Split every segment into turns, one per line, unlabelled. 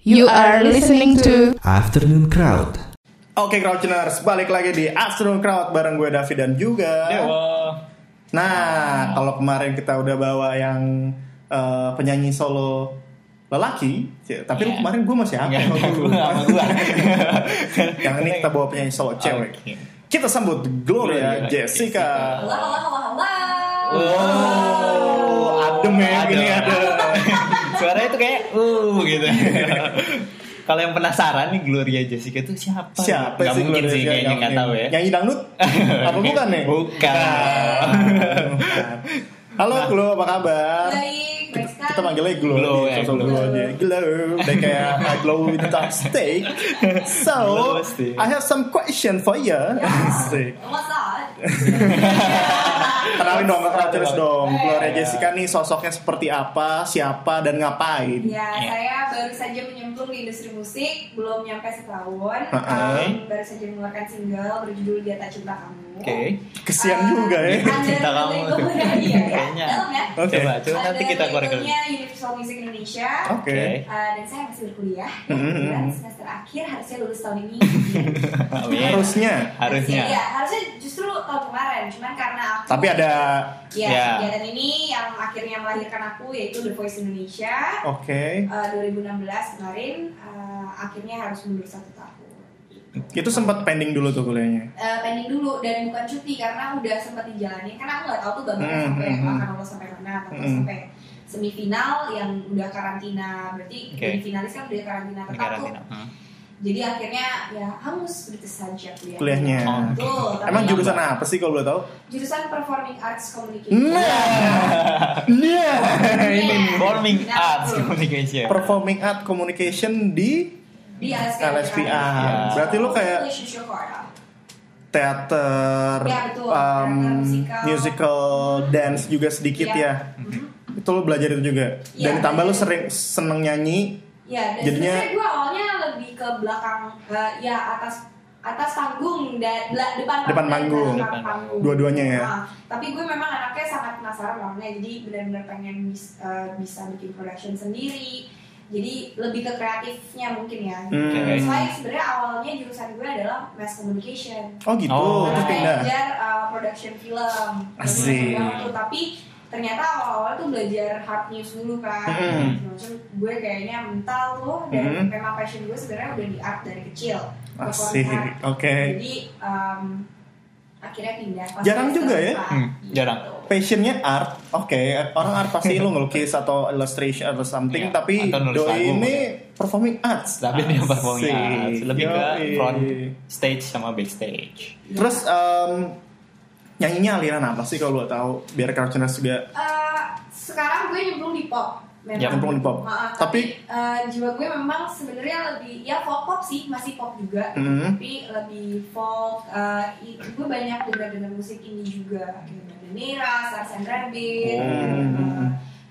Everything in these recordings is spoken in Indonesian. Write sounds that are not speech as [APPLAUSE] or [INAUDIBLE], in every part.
You are listening to
Afternoon Crowd.
Oke Croucheners, balik lagi di Astro Crowd bareng gue David dan juga
Eh,
Nah, kalau kemarin kita udah bawa yang eh, penyanyi solo lelaki, c- tapi lu
Iya.
kemarin gue masih apa?
Nggak
Eh,
ada,
Gua [LAUGHS] lupa.
gua sama [LAUGHS] gua.
yang ini kita bawa penyanyi solo cewek.
Oke.
Kita sambut Gloria Jessica.
Gloria Jessica.
Halo, halo, halo, halo.
Oh,
adem ya, gini ada.
[LAUGHS] Suaranya tuh kayak uh
[LAUGHS]
gitu. Kalau yang penasaran nih Gloria Jessica itu siapa?
Siapa
Nggak
sih
mungkin
Gloria
sih
Jessica?
kayaknya nggak tahu ya.
Nyanyi
[LAUGHS]
dangdut? apa bukan nih?
Bukan.
Nah, bukan. Halo Glo, apa kabar?
Baik, baik
kita,
sekali.
kita panggilnya glow,
Glow,
aja,
ya,
sosok glow
glow.
aja glow udah kayak
[LAUGHS]
uh, glow with the steak so
Glow steak.
I have some question for ya. you Steak.
What's up?
kenalin dong kenal terus dong Gloria
Iya.
Jessica nih sosoknya seperti apa siapa dan ngapain
Iya.
Ya, saya baru saja menyemplung di industri musik, belum nyampe setahun.
Uh-uh.
Um, baru saja mengeluarkan single berjudul Dia Tak Cinta Kamu.
Oke.
kesian
Ah.
juga ya
[LAUGHS] Cinta Kamu. Kayaknya.
Kayaknya. Dalam ya.
Oke.
Coba, Nah, coba nanti kita korek lagi.
Ada Universal Music Indonesia.
oke
Uh, dan saya masih berkuliah.
Mm-hmm.
Mm-mm.
Dan semester akhir harusnya lulus tahun
[LAUGHS]
ini.
Amin.
harusnya
Oh, iya. Harusnya.
Iya, harusnya justru tahun kemarin. Cuman karena aku
tapi ada
Ya,
Ya.
kegiatan ini yang akhirnya melahirkan aku yaitu The Voice Indonesia
oke
eh, 2016 kemarin eh, akhirnya harus mundur satu tahun.
itu sempat pending dulu tuh kuliahnya
Eh, pending dulu dan bukan cuti karena udah sempat dijalani karena aku nggak tahu tuh bakal
Hmm,
sampai
hmm,
akan lolos sampai mana atau
Hmm.
sampai semifinal yang udah karantina berarti
Oke.
jadi finalis kan udah karantina tetap tuh.
Karantina. Hmm.
jadi akhirnya ya hangus begitu saja kuliahnya.
Kuliahnya.
Ah.
Betul, tapi ya,
emang jurusan apa sih kalau boleh tahu
jurusan performing arts communication.
Iya.
Iya.
nah nah
[LAUGHS]
ini nih.
Forming
Nah,
Arts
betul.
Communication.
performing art communication di
di LSPA.
LSPA. Berarti lu kayak- teater,
Ya, betul.
um,
Teater, musical.
musical, dance juga sedikit
Ya.
ya. Itu lo belajar itu juga.
Ya.
Dan ditambah lo sering seneng nyanyi.
Ya, dan
Jadinya-
sebenarnya gue awalnya lebih ke belakang, eh, ya atas atas panggung dan bela- depan
Depan panggung.
belakang
Depan panggung.
Dua-duanya ya?
Nah, tapi gue memang anaknya sangat penasaran orangnya, jadi benar-benar pengen bis- eh, bisa bikin production sendiri. Jadi lebih ke kreatifnya mungkin ya.
Hmm.
That's why sebenarnya awalnya jurusan gue adalah mass communication.
Oh gitu,
Oh.
terus
Nah,
pindah.
belajar uh, production film
Asik.
Belajar tuh, tapi ternyata awal-awal tuh belajar hard news dulu kan
Mm-mm.
macam gue kayaknya mental tuh dan
Mm-mm.
memang passion gue sebenarnya udah di art dari kecil
Mm-hmm. Asik,
perform
oke.
art. jadi um, akhirnya pindah Pas
Jarang
semester
juga ya?
empat,
Hmm, jarang.
gitu.
Passionnya art, oke. Orang art pasti lo ngelukis atau illustration atau something,
Iya,
tapi
atau nulis
doi
lagu,
ini performing arts.
Tapi dia performing
Asik.
arts. Lebih ke
Yoi.
front stage sama backstage.
Terus em, nyanyinya aliran apa sih kalau lo tahu? Biar Crouching juga
Eh, sekarang gue nyemplung di pop memang.
Ya,
nyemplung di pop.
Maaf,
Tapi-
tapi, eh, jiwa gue memang sebenarnya lebih ya pop pop sih masih pop juga
Hmm.
tapi lebih folk eh, i- gue banyak dengar dengar musik indie juga dengar Nira, Sars and Rabbit
Hmm.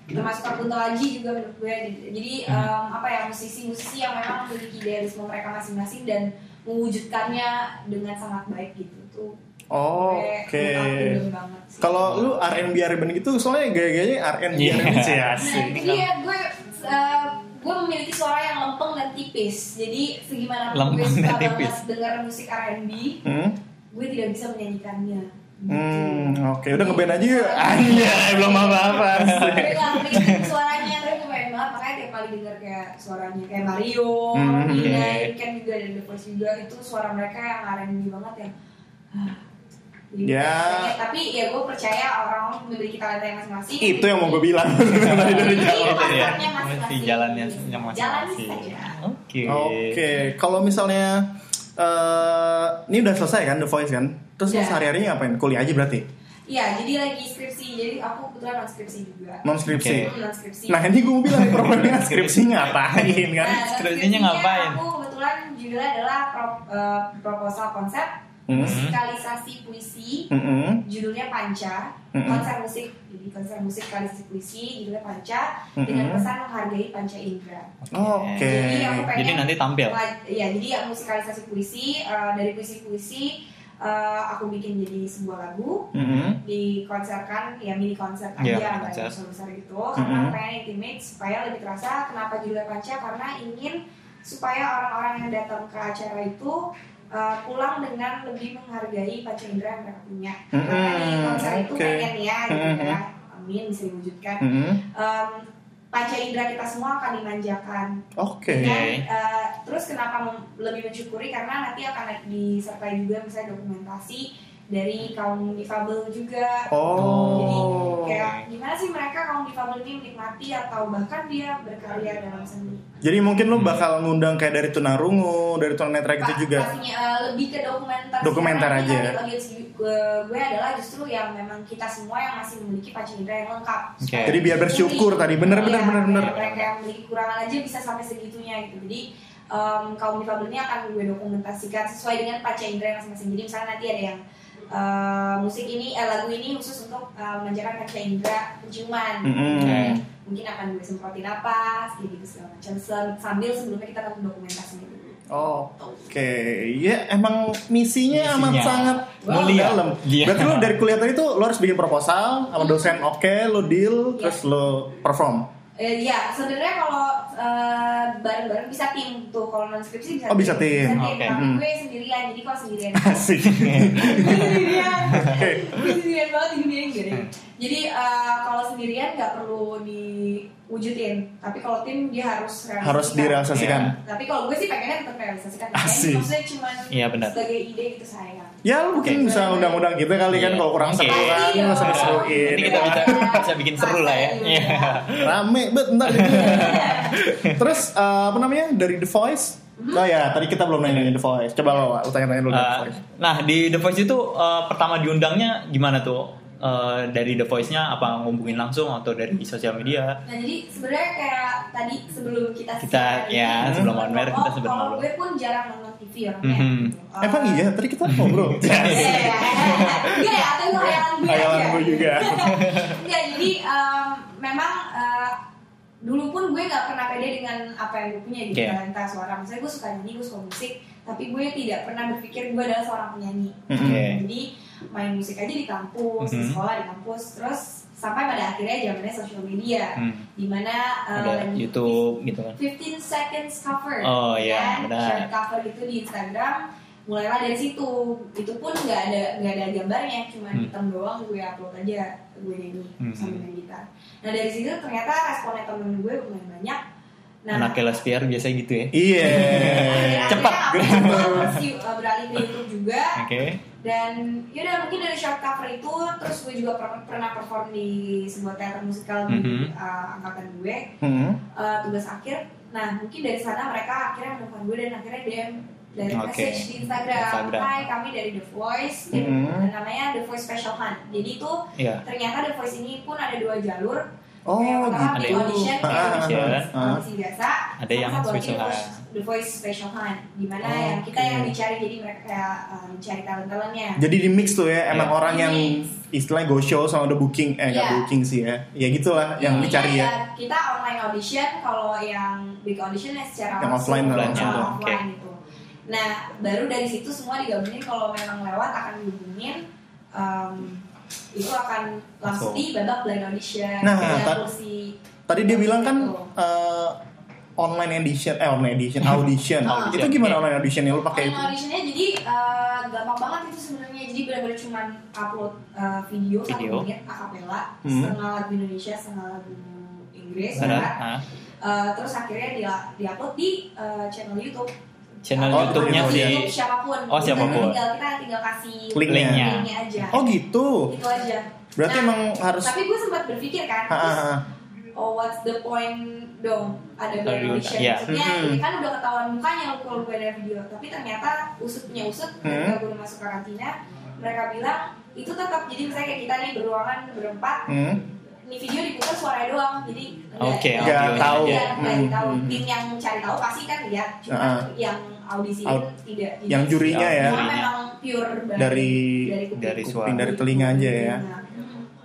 eh, termasuk Kunto Aji juga menurut gue jadi em, apa ya musisi-musisi yang memang memiliki idealisme mereka masing-masing dan mewujudkannya dengan sangat baik gitu tuh
Oh,
gue
oke.
mengagumi banget Iya, sih.
Kalau lu R&B R&B gitu, soalnya gaya-gayanya R&B
Iya.
R&B sih kan.
Nah,
asik. Iya.
itu dia gue eh, gue memiliki suara yang lempeng dan tipis. Jadi segimana pun gue
Lempeng
suka
dan tipis.
banget dengar musik R&B,
Hmm,
gue tidak bisa menyanyikannya. Gitu. [LAUGHS]
hmm oke udah ngeband aja [LAUGHS] yuk. Anya, Iya, belum apa-apa. asik.
Gue gak
[LAUGHS]
mendengar suaranya, tapi gue pengen banget makanya tiap kali denger kayak suaranya kayak Mario,
Hmm, iya.
Nina,
oke.
Ken juga dan The Voice juga itu suara mereka yang R&B banget yang ah, jadi
Ya.
kayak- tapi ya gue percaya orang memiliki talenta yang masing-masing.
Itu yang mau gue bilang tadi dari
Jadi,
jawab.
pasarnya
ya.
masing-masing.
Masih jalannya yang masing-masing.
Jalan ya. saja.
Iya.
Oke.
Oke, kalau misalnya eh ini udah selesai kan The Voice kan? Terus lu
Ya.
sehari-harinya ngapain? Kuliah aja berarti?
Iya, jadi lagi skripsi. Jadi aku kebetulan non skripsi juga.
Non skripsi.
Hmm, Non skripsi.
Nah ini gue [LAUGHS] bilang problemnya skripsinya ngapain
Nah,
kan?
non
skripsinya ngapain?
Aku kebetulan judulnya adalah pro- eh, proposal konsep
Hmm.
musikalisasi puisi.
Mm-mm.
Judulnya Panca,
Mm-mm.
konser musik. Jadi konser musik musikalisasi puisi, judulnya Panca dengan
Mm-mm.
pesan menghargai panca indera.
Oke.
Jadi aku pengen
Jadi nanti tampil.
Ngaj- Iya, jadi ya, musikalisasi puisi eh, dari puisi-puisi eh, aku bikin jadi sebuah lagu.
Mm-hmm.
Mm-mm.
dikonserkan ya mini konser aja
Iya, mini
nggak
konser. Mm-hmm.
yang besar besar gitu karena
Mhm.
pengen intimate supaya lebih terasa kenapa judulnya panca karena ingin supaya orang-orang yang datang ke acara itu uh, pulang dengan lebih menghargai Pancendra yang mereka punya.
Mm-hmm.
Mm-mm,
Karena di konser itu
oke.
pengen ya, gitu
Mm-mm.
ya. Amin bisa diwujudkan.
Mm-mm.
Um, panca indera kita semua akan dimanjakan.
Oke.
Dan, uh, terus kenapa mem- lebih mensyukuri karena nanti akan disertai juga misalnya dokumentasi dari kaum difabel juga.
Oh.
Kayak gimana sih mereka kaum difabel ini menikmati atau bahkan dia berkarya dalam seni?
Jadi mungkin lu bakal ngundang kayak dari Tunarungu, dari Tunanetra
Pa-
gitu juga.
pastinya, eh, lebih ke dokumenter.
Dokumenter
Karena
aja.
yang audiens gue, gue adalah justru yang memang kita semua yang masih memiliki pancinta yang lengkap.
Oke.
Jadi biar bersyukur tadi. Bener, bener,
Iya,
bener, bener.
Mereka yang memiliki kekurangan aja bisa sampai segitunya gitu. Jadi em, kaum difabel ini akan gue dokumentasikan sesuai dengan panca indera yang masing-masing. Jadi misalnya nanti ada yang eh, musik ini, eh, lagu ini khusus untuk eh, menjaga panca indera penciuman.
Mm-mm.
Oke.
Mungkin akan gue semprotin apa, gitu segala macam. Sem- Sambil sebelumnya kita akan dokumentasinya dulu.
Oh, Oke, ya emang misinya, amat
Misinya.
sangat
Mulia.
dalam.
Iya.
Berarti lo dari kuliah tadi tuh lo harus bikin proposal sama dosen, oke, lo deal,
Iya.
terus lo perform. [LAUGHS]
Eh, ya, sebenarnya kalau eh, bareng-bareng bisa tim tuh kalau non skripsi bisa.
Oh, bisa tim.
Oke.
Tapi
Hmm.
gue sendirian, jadi kalau
[LAUGHS]
sendirian.
Asik.
Gue sendirian. Gue sendirian banget di dunia ini. Jadi, jadi eh, kalau sendirian nggak perlu diwujudin, tapi kalau tim dia harus realisasikan.
harus direalisasikan.
Tapi kalau gue sih pengennya tetap realisasikan.
Asik.
Makanya Maksudnya cuma
Iya, benar.
sebagai ide gitu sayang.
Ya lo mungkin
Oke.
bisa undang-undang kita kali kan
Iya.
kalau kurang
Oke.
seru kan,
Iya.
nggak usah diseruin.
Nanti kita bisa bisa bikin seru lah ya.
Pasti,
Iya.
Rame bet ntar [LAUGHS] gitu. Terus eh, apa namanya dari The Voice? Oh ya, tadi kita belum nanya The Voice. Coba lo, Wak, lo tanya-tanya dulu dari The
Eh,
Voice.
nah di The Voice itu eh, pertama diundangnya gimana tuh? Eh, dari The Voice-nya apa ngomongin langsung atau dari sosial media?
Nah jadi sebenarnya kayak tadi sebelum kita oh,
Kita, ya, sebelum on air, kita sebelum
Kalau
ngobrol.
gue pun jarang nonton TV orangnya.
Mhm.
gitu. Eh,
Emang iya, tadi [LAUGHS] kita ngobrol.
Iya, iya, iya. Iya, ya, atau itu khayalan gue
Khayalan
aja.
gue juga.
Iya, jadi em, memang eh, dulu pun gue nggak pernah pede dengan apa yang gue punya gitu
Oke.
talenta suara. Misalnya gue suka nyanyi, gue suka musik, tapi gue tidak pernah berpikir gue adalah seorang penyanyi. Gitu.
Mm-mm.
Oke.
Jadi main musik aja di kampus, di
Mhm.
sekolah di kampus, terus sampai pada akhirnya zamannya sosial media,
Hmm.
dimana eh,
Ada
lagi
YouTube gitu kan?
15 seconds cover.
Oh, iya,
Dan
benar.
share cover itu di Instagram mulailah dari situ. Itu pun nggak ada nggak ada gambarnya, cuma
Hmm.
hitam doang gue upload aja gue nyanyi
Hmm.
sambil main gitar. Nah dari situ ternyata responnya temen gue lumayan banyak. Nah,
Anak LSPR biasanya gitu ya?
Iya. [LAUGHS]
akhirnya
Cepat.
aku juga terus you- uh, beralih ke YouTube juga
Oke.
dan yaudah mungkin dari short cover itu terus gue juga per- pernah perform di sebuah teater musikal di
Mhm.
uh, angkatan gue
Mm-mm.
uh, tugas akhir. Nah, mungkin dari sana mereka akhirnya menemukan gue dan akhirnya DM dan
Oke.
message di Instagram.
Instagram. Mm-hmm.
Hai, kami dari The Voice. Dan
Mm.
namanya The Voice Special Hunt. Jadi itu
Iya.
ternyata The Voice ini pun ada dua jalur. kayak
Oh,
pertama
gitu.
di audition,
Ah,
kayak
ah,
audition,
ah, ah.
audisi biasa.
Ada yang
sama satu lagi
special
The Voice-
hunt. Oh,
The Voice Special Hunt. Dimana
Oke.
yang kita yang dicari jadi mereka kayak uh, mencari talent-talentnya.
Jadi di mix tuh ya, emang
Iya.
orang yang
Di-mix.
istilahnya go show sama the booking, eh nggak
Iya.
booking sih ya, ya gitulah yang
Intinya
dicari ya.
Kita online audition, kalau yang big audition ya secara
Yang
langsung,
offline
secara
langsung tuh,
offline gitu. Nah, baru dari situ semua digabungin kalau memang lewat akan dihubungin em, itu akan langsung di
Langsung.
babak blind audition.
Nah,
Ada
ta-
kursi-
Tadi dia bilang kan
Gitu.
eh, online edition, eh online edition,
[LAUGHS]
audition.
Audition,
itu gimana
iya.
online audition yang lu pakai
Online
itu?
auditionnya jadi eh, gampang banget itu sebenarnya jadi benar-benar cuman upload eh, video,
Video.
satu menit akapela
Hmm.
setengah lagu Indonesia setengah lagu Inggris
Ada
ya.
ah,
Eh, terus akhirnya dia diupload di eh, channel YouTube
channel
Oh,
YouTube-nya
di
si
YouTube siapapun.
Oh, siapapun.
Kita tinggal kita tinggal kasih
Linknya.
linknya aja.
Oh gitu.
Itu aja.
Berarti
Nah,
emang harus.
Tapi gue sempat berpikir kan,
Ah, ah,
terus,
ah.
oh what's the point dong ada
Dari
video audition.
ya.
Maksudnya
Hmm.
ini kan udah ketahuan mukanya kalau gue ada video, tapi ternyata usut punya usut ketika gue masuk karantina, mereka bilang itu tetap jadi misalnya kayak kita nih beruangan berempat,
Hmm.
ini video diputar suaranya doang, jadi
Oke,
enggak-
Nggak
audionya
tahu.
aja.
Iya, nggak
Hmm,
tahu.
hmm.
Tim yang cari tahu pasti kan lihat, cuma
Ah.
yang audisi
Aud-
tidak. Jadi
Yang jurinya ya.
Cuma memang pure banget
Dari-
kuping. Iya.
dari suara.
Kuping dari telinga aja ya.
Telinga.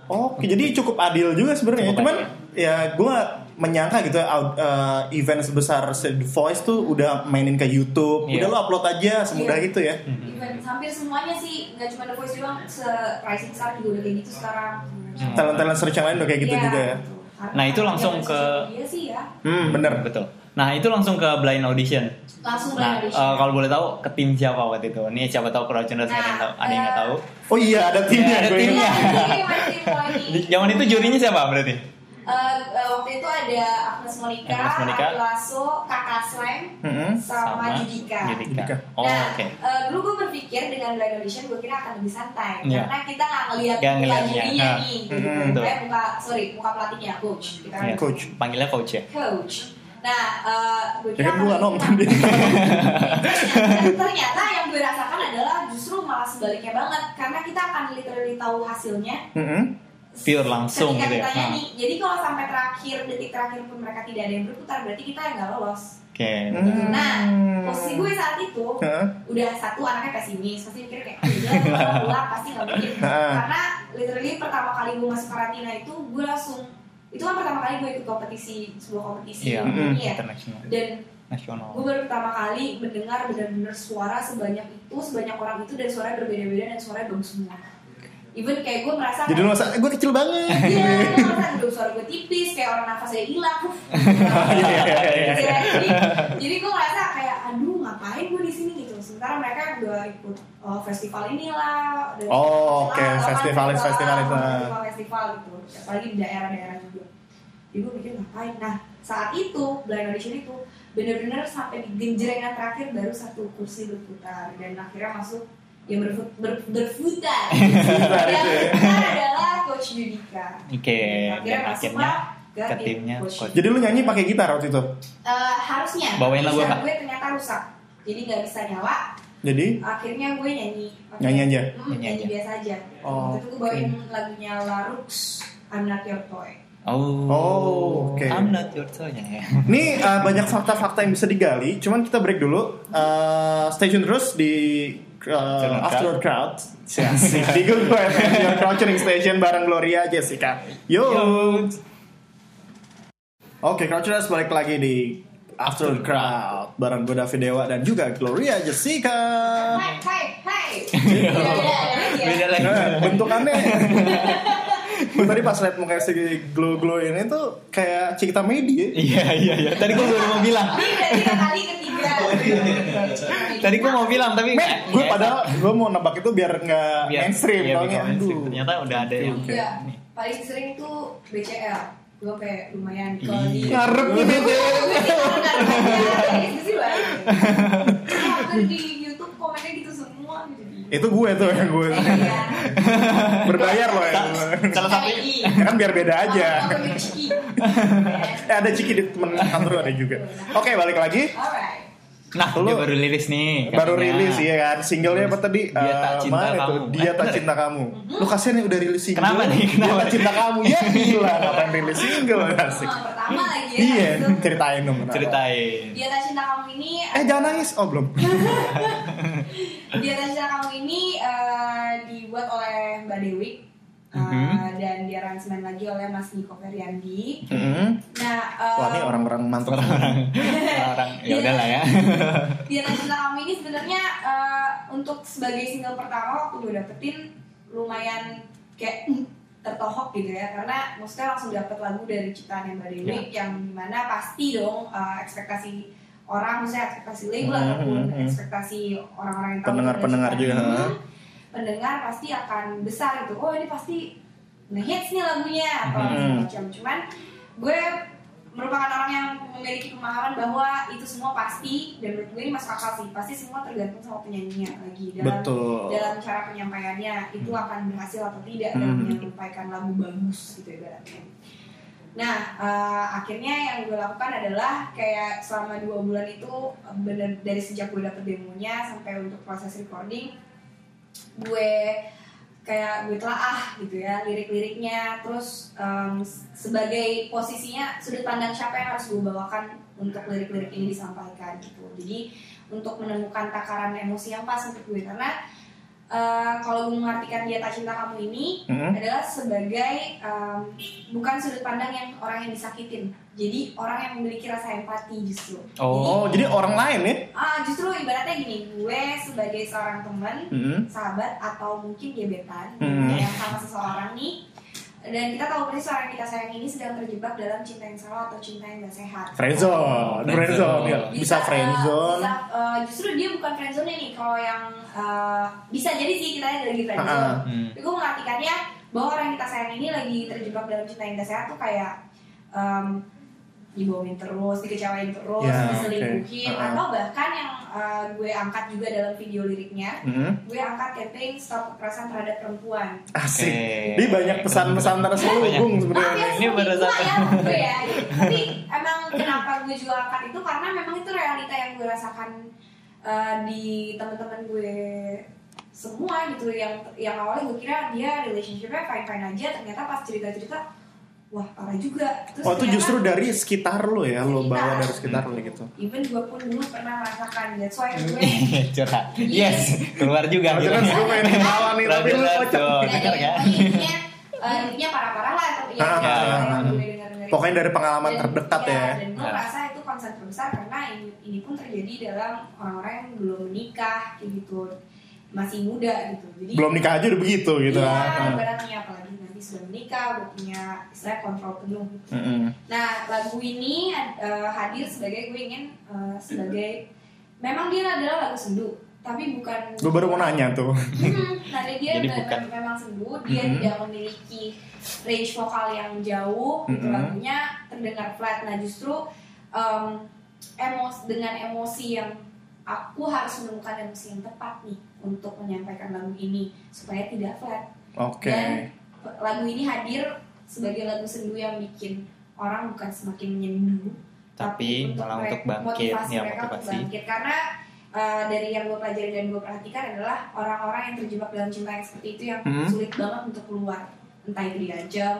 Oke, jadi cukup adil juga sebenarnya.
Cukup
Cuman
adil.
ya gue menyangka gitu out- eh, event sebesar The Voice tuh udah mainin ke YouTube,
Iya. Hmm.
udah lo upload aja semudah
Iya.
itu ya.
Even hampir semuanya sih nggak cuma The Voice doang, se Rising Star juga udah kayak gitu sekarang.
Hmm.
Talent-talent search yang lain udah kayak gitu
Iya,
juga ya.
gitu. Karena
Nah, itu langsung
yang
ke-
sosial media sih ya.
Hmm, bener.
Betul. Nah itu langsung ke blind audition.
langsung
Nah
blind
eh,
audition.
kalau boleh tahu ke tim siapa waktu itu? Ini siapa tahu crowdtuners ada yang tahu, ada yang
Eh,
nggak tahu.
Oh iya ada timnya
Iya, ada
gue ingat.
Iya,
timnya.
ini masih poin
Di- Zaman itu jurinya siapa berarti?
Eh, eh, waktu itu ada Agnes Monica,
Agnes Monica.
Ari Lasso, Kakak Slam,
Mm-mm.
sama, Judika.
Judika.
Oh
nah,
oke.
eh, dulu gue berpikir dengan blind audition gue kira akan lebih santai
Iya.
karena kita nggak ngelihat
Nggak
muka
ngelihatnya.
jurinya
Nah,
nih,
mm-mm,
gitu.
betul.
Kayak muka sorry muka pelatihnya coach, kita kan
Iya.
Mm-hmm. Coach.
Panggilnya coach ya.
coach. Nah, eh, gue
Ya
kira
kan gue
akan
gak
lebih
nonton dia.
Dan ternyata yang gue rasakan adalah justru malah sebaliknya banget karena kita akan literally tahu hasilnya
Mm-mm.
Pure langsung
ketika
gitu ya.
kita
Nah,
nyanyi. Jadi kalau sampai terakhir detik terakhir pun mereka tidak ada yang berputar berarti kita yang nggak lolos.
Oke.
Hmm.
Nah posisi gue saat itu
Heeh.
udah satu anaknya pesimis pasti mikir kayak "Ah,
[LAUGHS]
gila gue pulang pasti nggak mungkin
Heeh.
karena literally pertama kali gue masuk karantina itu gue langsung itu kan pertama kali gue ikut kompetisi sebuah kompetisi
Iya.
Mm-mm.
iya.
Internasional.
dan
Nasional.
gue baru pertama kali mendengar benar-benar suara sebanyak itu sebanyak orang itu dan suara berbeda-beda dan suara bagus semua even kayak gue merasa
Jadi lu masa gue kecil banget.
Iya, gue merasa aduh, suara gue tipis kayak orang nafas aja hilang
Iya iya iya, iya.
jadi, jadi gue merasa kayak aduh ngapain gue di sini gitu sementara mereka udah ikut oh, festival inilah udah
Oh,
ikut
oke,
festival,
nah. festival-
apa,
festival itu.
festival festival gitu apalagi di daerah-daerah juga jadi gue pikir ngapain nah saat itu blind audition itu bener-bener sampai di genjrengan terakhir baru satu kursi berputar dan akhirnya masuk yang berfut, ber,
[LAUGHS]
berputar yang
ya.
berputar adalah coach Yudika
Oke.
akhirnya
Dan akhirnya
masuklah
ke timnya coach.
Jadi lu nyanyi pakai gitar waktu itu.
Eh, harusnya
Bawain lagu
Gitar
apa?
gue ternyata rusak jadi nggak bisa nyala
Jadi
akhirnya gue nyanyi
Nyanyi aja?
Hmm,
Nyanyi
nyanyi,
aja.
biasa aja
Oh,
waktu itu gue bawain lagunya Larux I'm Not Your Toy
Oh.
Oh, oke.
I'm not your [LAUGHS] toy
Iya.
ya.
Ini uh, banyak fakta-fakta yang bisa digali, cuman kita break dulu. Uh, stay tune terus di uh, After Your Crowd. Asik. [LAUGHS] di Google FM, Your Crowd Tuning Station bareng Gloria Jessica. Yo. Oke, Crowdtuners balik lagi di After Your Crowd bareng gue David Dewa dan juga Gloria Jessica.
Hai hai
[LAUGHS]
hai Iya, iya, iya, iya.
Oh. Beda lagi.
Nah, [LAUGHS] bentukannya Gua tadi pas liat mukanya si glow-glow ini tuh kayak Cikita Medi
Iya iya iya. Tadi gue baru mau bilang.
Ini udah tiga kali ketiga
Tadi gue mau bilang tapi
Men, gue
Eh,
padahal gue mau nebak itu biar nggak
biar-
mainstream
iya,
soalnya
biar mainstream.
aduh.
Ternyata udah ada yang
Iya, paling sering tuh BCL gue kayak lumayan kalau di
Iya.
Ngarep nih Bebe.
Itu sih banyak. Cuma waktu di YouTube komennya gitu semua jadi.
Itu gue tuh yang gue
Iya.
berbayar loh ya.
salah satu
Ciki.
Ya kan biar beda aja.
[LAUGHS] Aku panggil Ciki.
Eh, ada Ciki di temen kantor ada juga. Oke balik lagi.
Alright.
nah
Lu-
dia baru rilis nih
Baru
katanya.
rilis ya kan singlenya apa tadi?
Iya, Dia Tak
Eh,
Cinta
mana itu?
Kamu.
Dia
Eh,
tak
bener.
cinta kamu. Lu kasihan yang udah rilis single.
Kenapa nih? Kenapa
Dia tak
nih?
cinta kamu. Ya gila ngapain rilis
[LAUGHS]
single asik.
Pengalaman pertama lagi ya.
Iya,
Itu.
ceritain dong. kenapa.
ceritain
Dia tak cinta kamu ini.
Eh jangan nangis. Oh belum.
Dia tak cinta kamu ini eh, dibuat oleh Mbak Dewi. Eh,
Mm-hmm.
Mhm.
dan diaransemen lagi oleh Mas Niko Feryandi.
Mm-mm.
Nah, eh,
Wah ini orang-orang mantap.
orang ya udahlah ya
Dia Tak Cinta Kamu ini sebenarnya eh, untuk sebagai single pertama waktu gue dapetin lumayan kayak hmm, tertohok gitu ya karena maksudnya langsung dapet lagu dari ciptaan yang Mbak Dewi
Iya.
yang dimana pasti dong eh, ekspektasi orang maksudnya ekspektasi label
Hmm,
ataupun
hmm, hmm.
ekspektasi orang-orang yang tahu
Pendengar-pendengar
dari ciptaan
juga,
ini, pendengar pasti akan besar gitu oh ini pasti ngehits nih lagunya atau
Hmm.
macam cuman gue merupakan orang yang memiliki pemahaman bahwa itu semua pasti dan menurut gue ini masuk akal sih pasti semua tergantung sama penyanyinya lagi dalam
Betul.
dalam cara penyampaiannya itu akan berhasil atau tidak dalam
Hmm.
Iya, menyampaikan lagu bagus gitu ibaratnya nah eh, akhirnya yang gue lakukan adalah kayak selama dua bulan itu eh, bener dari sejak gue dapet demonya sampai untuk proses recording gue kayak gue telaah gitu ya lirik-liriknya terus em, sebagai posisinya sudut pandang siapa yang harus gue bawakan untuk lirik-lirik ini disampaikan gitu jadi untuk menemukan takaran emosi yang pas untuk gue karena eh, kalau gue mengartikan dia tak cinta kamu ini
Mm-mm.
adalah sebagai em, bukan sudut pandang yang orang yang disakitin jadi orang yang memiliki rasa empati justru
Oh jadi orang lain ya?
ah justru ibaratnya gini gue sebagai seorang teman
Mm-mm.
sahabat atau mungkin gebetan
Hmm.
yang sama seseorang nih dan kita tahu persis orang yang kita sayang ini sedang terjebak dalam cinta yang salah atau cinta yang gak sehat
Friendzone,
Friendzone.
friendzone, ya. bisa
eh,
friendzone.
bisa, eh, justru dia bukan friendzone nih kalau yang eh, bisa jadi sih kita yang lagi friendzone
Ah,
hmm.
tapi gue mengartikannya bahwa orang yang kita sayang ini lagi terjebak dalam cinta yang gak sehat tuh kayak em, dibohongin terus, dikecewain terus,
Ya,
diselingkuhin,
oke. Ah, ah.
atau bahkan yang eh, gue angkat juga dalam video liriknya,
Mhm.
gue angkat campaign stop kekerasan terhadap perempuan.
Asik.
Oke.
Dia banyak pesan-pesan terselubung
Maaf ya,
sebenarnya.
Ini
semua
berasa-
ya maksud gue ya. gitu. Tapi emang kenapa gue juga angkat itu karena memang itu realita yang gue rasakan eh, di teman-teman gue semua gitu yang yang awalnya gue kira dia relationshipnya fine fine aja ternyata pas cerita cerita wah parah juga terus
Oh itu
ternyata
justru dari sekitar lo ya, lo
Sekitar.
bawa dari sekitar lo gitu.
even gue pun dulu pernah merasakan that's why gue
[LAUGHS] [LAUGHS] curhat yes keluar juga
Iya,
gitu.
Oh, jelas
akhirnya. [LAUGHS]
gue pengen ketawa nih, tapi lu
Terdengar
kocak.
tuh,
dan
dengar
yang
kan?
intinya eh, intinya parah-parah lah tapi ya,
Ah,
ya,
ah,
yang
ah.
gue denger-dengerin.
Pokoknya dari pengalaman
Dan- iya,
terdekat ya.
Dan gue
Ya.
merasa itu concern terbesar karena ini, ini pun terjadi dalam orang-orang yang belum menikah kayak gitu masih muda gitu. Jadi
Belum nikah aja udah begitu gitu.
Iya,
ah.
ibaratnya apalagi nanti sudah menikah, udah punya istilah kontrol penuh.
Mm-mm.
Nah, lagu ini eh, hadir sebagai gue ingin eh, sebagai memang dia adalah lagu sendu, tapi bukan
Gue baru mau nanya
[LAUGHS]
tuh.
Hmm, karena dia
Jadi
benar-benar
bukan. Hmm.
memang sembuh, dia
Mhm.
tidak memiliki range vokal yang jauh,
Hmm.
gitu
Mhm.
lagunya terdengar flat. Nah justru em, emos- dengan emosi yang aku harus menemukan emosi yang tepat nih untuk menyampaikan lagu ini supaya tidak flat.
Oke.
Dan lagu ini hadir sebagai lagu sendu yang bikin orang bukan semakin menyendu,
Tapi malah untuk
mereka-
bangkit,
motivasi
ya,
mereka untuk
motivasi.
bangkit karena eh, dari yang gue pelajari dan gue perhatikan adalah orang-orang yang terjebak dalam cinta yang seperti itu yang
Hmm.
sulit banget untuk keluar entah itu diajam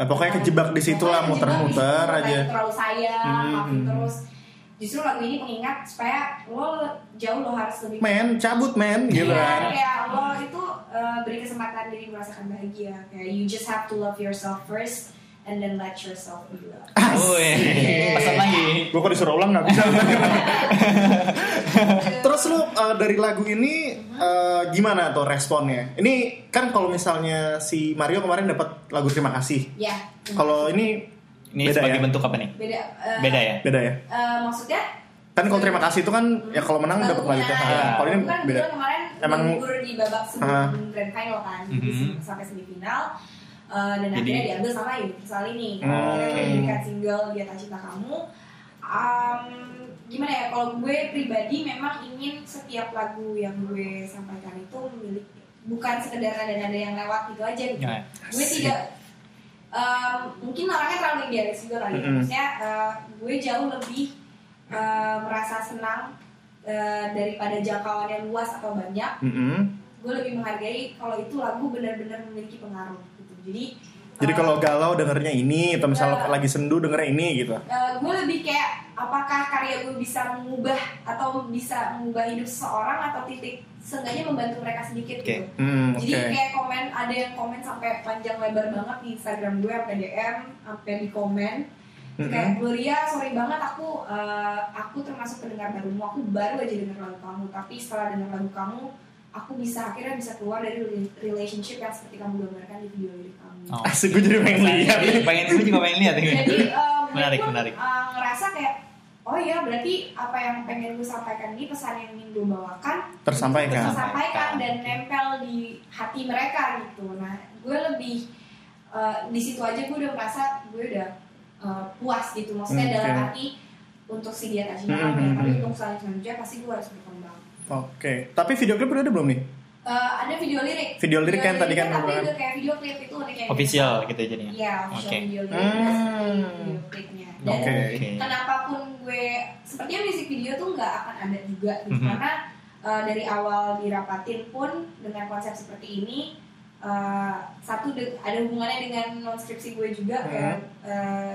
Nah, pokoknya kejebak di situ lah,
pokoknya kejebak di situ,
muter-muter
entah
aja.
itu terlalu sayang
Hmm,
maafin
hmm.
terus justru lagu ini mengingat supaya lo jauh lo harus lebih
Men, cabut men, gitu
Iya,
kan.
kayak lo itu uh, beri kesempatan diri merasakan bahagia. Kayak you just have to love yourself first and then let yourself be loved.
Woi, pesan lagi.
Gue kok disuruh ulang gak bisa. [LAUGHS] Terus lu uh, dari lagu ini uh, gimana tuh responnya? Ini kan kalau misalnya si Mario kemarin dapat lagu Terima Kasih.
ya.
Kalau ini
Ini
Beda
sebagai
ya?
bentuk apa nih?
beda uh,
Beda
[LAUGHS]
ya?
beda ya.
uh, maksudnya
Kan kalau Terima Kasih itu kan ya kalau menang dapat
Lagu
lagu itu.
menang.
Ah, Kalau ini
Iya. Bukan, kebetulan
beda.
ya. Kan kemarin
Emang-
Emang gugur di babak sebelum
Ah.
grand final kan, jadi
Mhm.
se- sampai semifinal uh, dan
Jadi-
akhirnya diambil sama Universal ini.
Hmm.
Akhirnya diberikan single di atas cinta kamu. Um, gimana ya kalau gue pribadi memang ingin setiap lagu yang gue sampaikan itu memiliki bukan sekedar nada-nada yang lewat gitu aja gitu.
Ya.
Gue tidak um, mungkin orangnya terlalu idealis juga kali. ya.
Mm-mm.
Maksudnya uh, gue jauh lebih uh, merasa senang uh, daripada jangkauan yang luas atau banyak
Mm-mm.
gue lebih menghargai kalau itu lagu benar-benar memiliki pengaruh gitu jadi
Jadi
eh,
kalau galau dengernya ini atau misalnya
Iya.
lagi sendu dengernya ini gitu.
eh, gue lebih kayak apakah karya gue bisa mengubah atau bisa mengubah hidup seseorang atau titik seenggaknya membantu mereka sedikit
Oke.
gitu
Hmm, oke.
jadi kayak komen ada yang komen sampai panjang lebar banget di Instagram gue sampai DM sampai di komen Terus kayak Gloria sorry banget aku eh, aku termasuk pendengar barumu aku baru aja denger lagu kamu tapi setelah denger lagu kamu aku bisa akhirnya bisa keluar dari rela- relationship yang seperti kamu gambarkan di video lirik kamu
Oh.
Asik gue jadi pengen lihat.
Jadi pengen gue juga pengen lihat ini. [LAUGHS]
jadi eh, gue
Menarik,
pun,
menarik.
eh, ngerasa kayak oh iya berarti apa yang pengen gue sampaikan ini pesan yang ingin gue bawakan
Tersampaikan.
tersampaikan dan
Oke.
nempel di hati mereka gitu. Nah, gue lebih uh, di situ aja gue udah merasa gue udah uh, puas gitu. Maksudnya
Hmm,
dalam
oke.
arti untuk si dia tadi
Hmm, hmm,
ya, tapi
hmm.
untuk selanjutnya selanjutnya pasti gue harus berkembang.
Oke. Tapi video klip udah ada belum nih?
Uh, ada video lirik.
Video lirik kan tadi kan
tapi
beneran.
udah kayak video klip itu udah kayak
Official gitu jadinya.
Iya, official
Oke.
video lirik.
Hmm.
dan Video klipnya. Dan
Oke.
kenapapun gue sepertinya musik video tuh nggak akan ada juga gitu
Mhm.
karena uh, dari awal dirapatin pun dengan konsep seperti ini uh, satu de- ada hubungannya dengan non skripsi gue juga
Mhm.
Hmm.
kayak uh,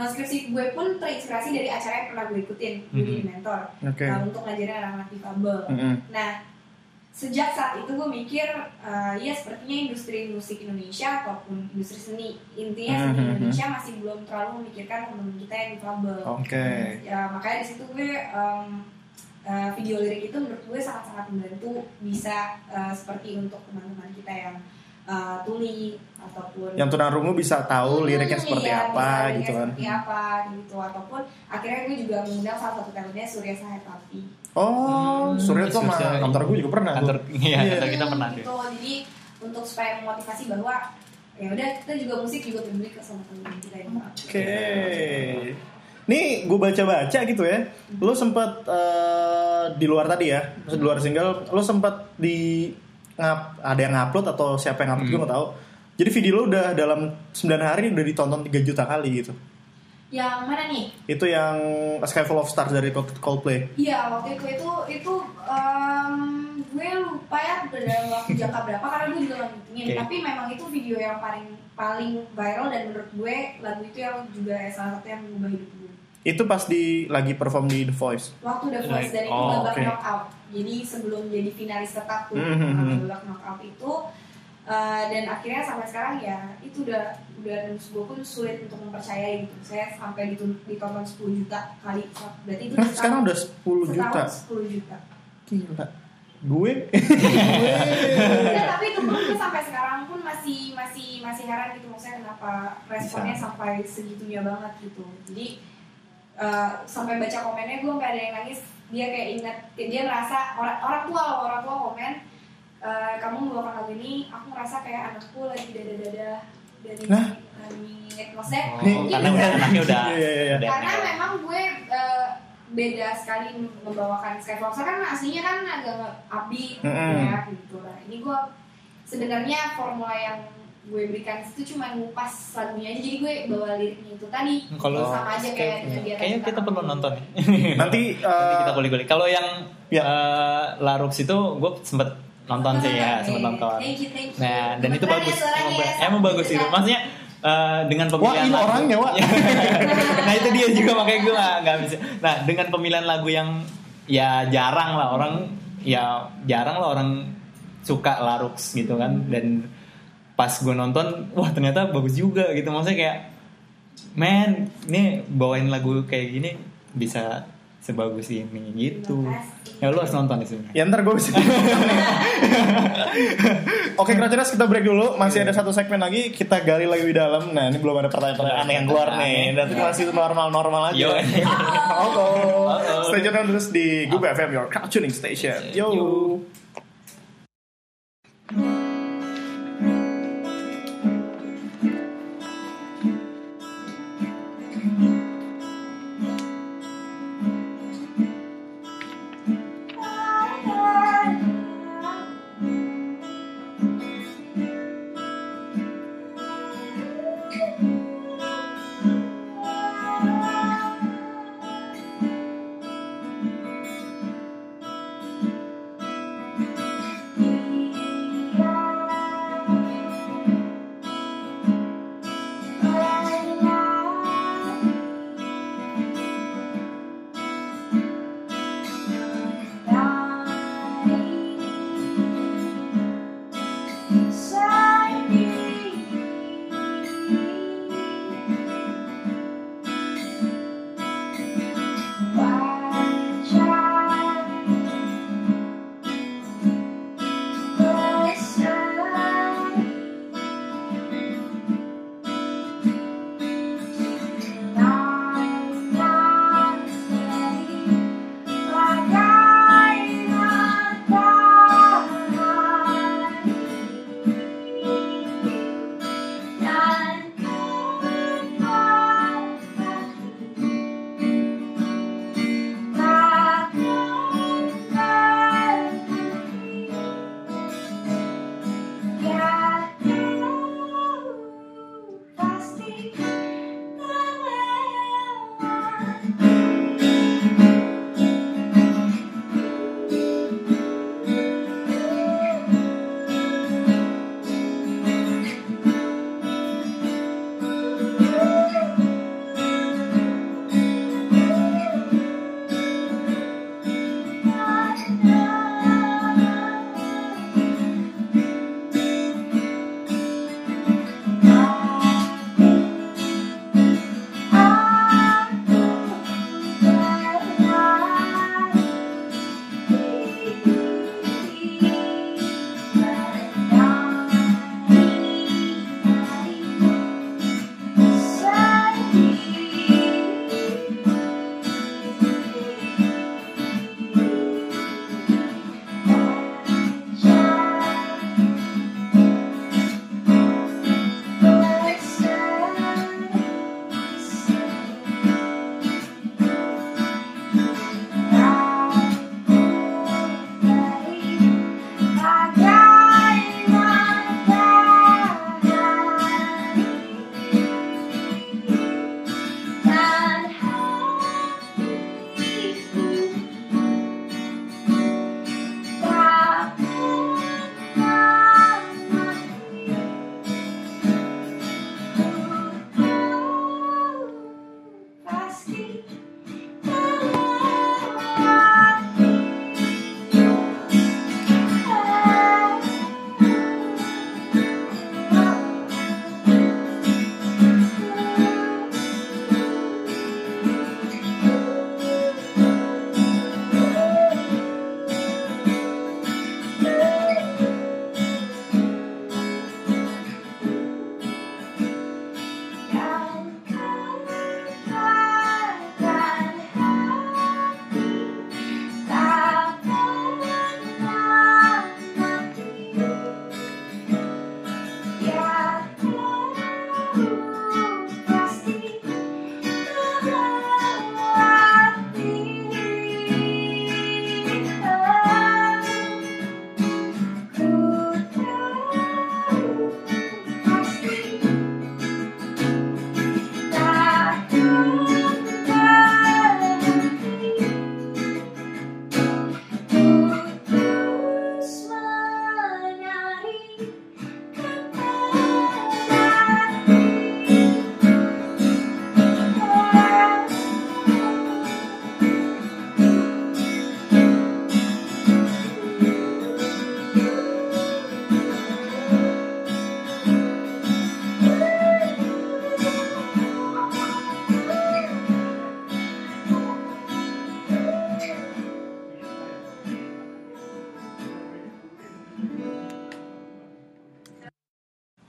non skripsi gue pun terinspirasi dari acara yang pernah gue ikutin gue jadi
Mhm.
mentor
Oke.
uh, untuk ngajarin anak-anak difabel
Mm-mm.
Nah, sejak saat itu gue mikir, eh, ya sepertinya industri musik Indonesia ataupun industri seni intinya seni
Mhm.
Indonesia masih belum terlalu memikirkan teman kita yang difabel.
Oke.
Ya, makanya di situ gue em, eh, video lirik itu menurut gue sangat-sangat membantu bisa eh, seperti untuk teman-teman kita yang eh, tuli ataupun
Yang tunarungu bisa tahu
Hmm,
liriknya seperti
iya,
apa
bisa liriknya
gitu kan.
seperti apa gitu ataupun akhirnya gue juga mengundang salah satu talentnya Surya Sahapapi
Hmm,
Oh,
iya
Surya tuh sama
Surya.
kantor gue juga pernah
kantor
tuh.
iya
Iya.
kantor kita
Hmm,
pernah deh
gitu jadi untuk supaya memotivasi bahwa ya udah kita juga musik juga peduli ke sama teman kita yang
iya,
Oke. Nih gue baca-baca gitu ya. Lo sempat eh, di luar tadi ya, di luar single, lo sempat di ngap ada yang ngupload atau siapa yang ngupload
Hmm.
gue nggak tahu. Jadi video lo udah dalam 9 hari udah ditonton 3 juta kali gitu.
yang mana nih
Itu yang A Sky Full of Stars dari Cold- Coldplay.
Iya waktu itu itu itu em, gue lupa ya dalam waktu jangka berapa karena gue juga nggak ngitungin
Oke.
tapi memang itu video yang paling paling viral dan menurut gue lagu itu yang juga salah satu yang mengubah hidup gue
Itu pas di lagi perform di The Voice.
waktu The Voice dan itu
Oh,
babak
oke.
knockout jadi sebelum jadi finalis tetap tuh
Mhm.
nah, babak knockout itu eh, dan akhirnya sampai sekarang ya itu udah udah nus- gue pun sulit untuk mempercayai gitu saya sampai ditun- ditonton 10 juta kali berarti itu
Nah,
setahun-
sekarang udah 10 juta.
setahun 10 juta
Gila. Gue
Iya.
Enggak, Iya, tapi itu pun gue sampai sekarang pun masih masih masih heran gitu maksudnya kenapa responnya sampai segitunya banget gitu. Jadi eh, sampai baca komennya gue sampai ada yang nangis. Dia kayak ingat dia ngerasa orang orang tua loh, orang tua komen eh, kamu membawakan lagu ini, aku ngerasa kayak anakku lagi dada-dada dari
Lah?
langit. Maksudnya
Oh, karena udah anaknya udah
Iya, iya, iya.
udah
karena
anaknya.
memang gue eh, beda sekali membawakan Skyfall kan aslinya kan agak upbeat
Mm-mm.
ya gitu lah ini gue sebenarnya formula yang gue berikan itu cuma ngupas lagunya aja jadi gue bawa liriknya itu tadi
kalau
sama aja kayak dengan dia
kayaknya
tadi.
kita perlu nonton ya. nih.
nanti
Iya, Nanti kita
eh,
kulik-kulik. Kalau yang
Ya.
eh, Larux itu gue sempet nonton sih ya, sempet nonton.
Thank you, thank you.
Nah, dan itu
Beneran
bagus.
ya suaranya
Emang,
ya,
emang
sama
bagus sih.
kita.
Maksudnya eh, dengan
Wah,
pemilihan Iya.
ini
lagu-
orangnya, Wak.
[LAUGHS] nah, itu dia juga makanya gue nggak nggak bisa. Nah, dengan pemilihan lagu yang ya jarang lah orang ya jarang lah orang suka Larux gitu kan dan pas gue nonton wah ternyata bagus juga gitu maksudnya kayak men ini bawain lagu kayak gini bisa sebagus ini gitu
Makasih.
ya lu harus nonton di sini
Ya ntar gue bisa Oke Keracunas kita break dulu Masih ada satu segmen lagi Kita gali lagi di dalam Nah ini belum ada pertanyaan-pertanyaan aneh Iya. yang keluar nih Dan itu masih normal-normal aja
yo
Halo
Uh-oh.
Stay tune terus di Google FM Your crowd tuning Station Yo
Yo.
Thank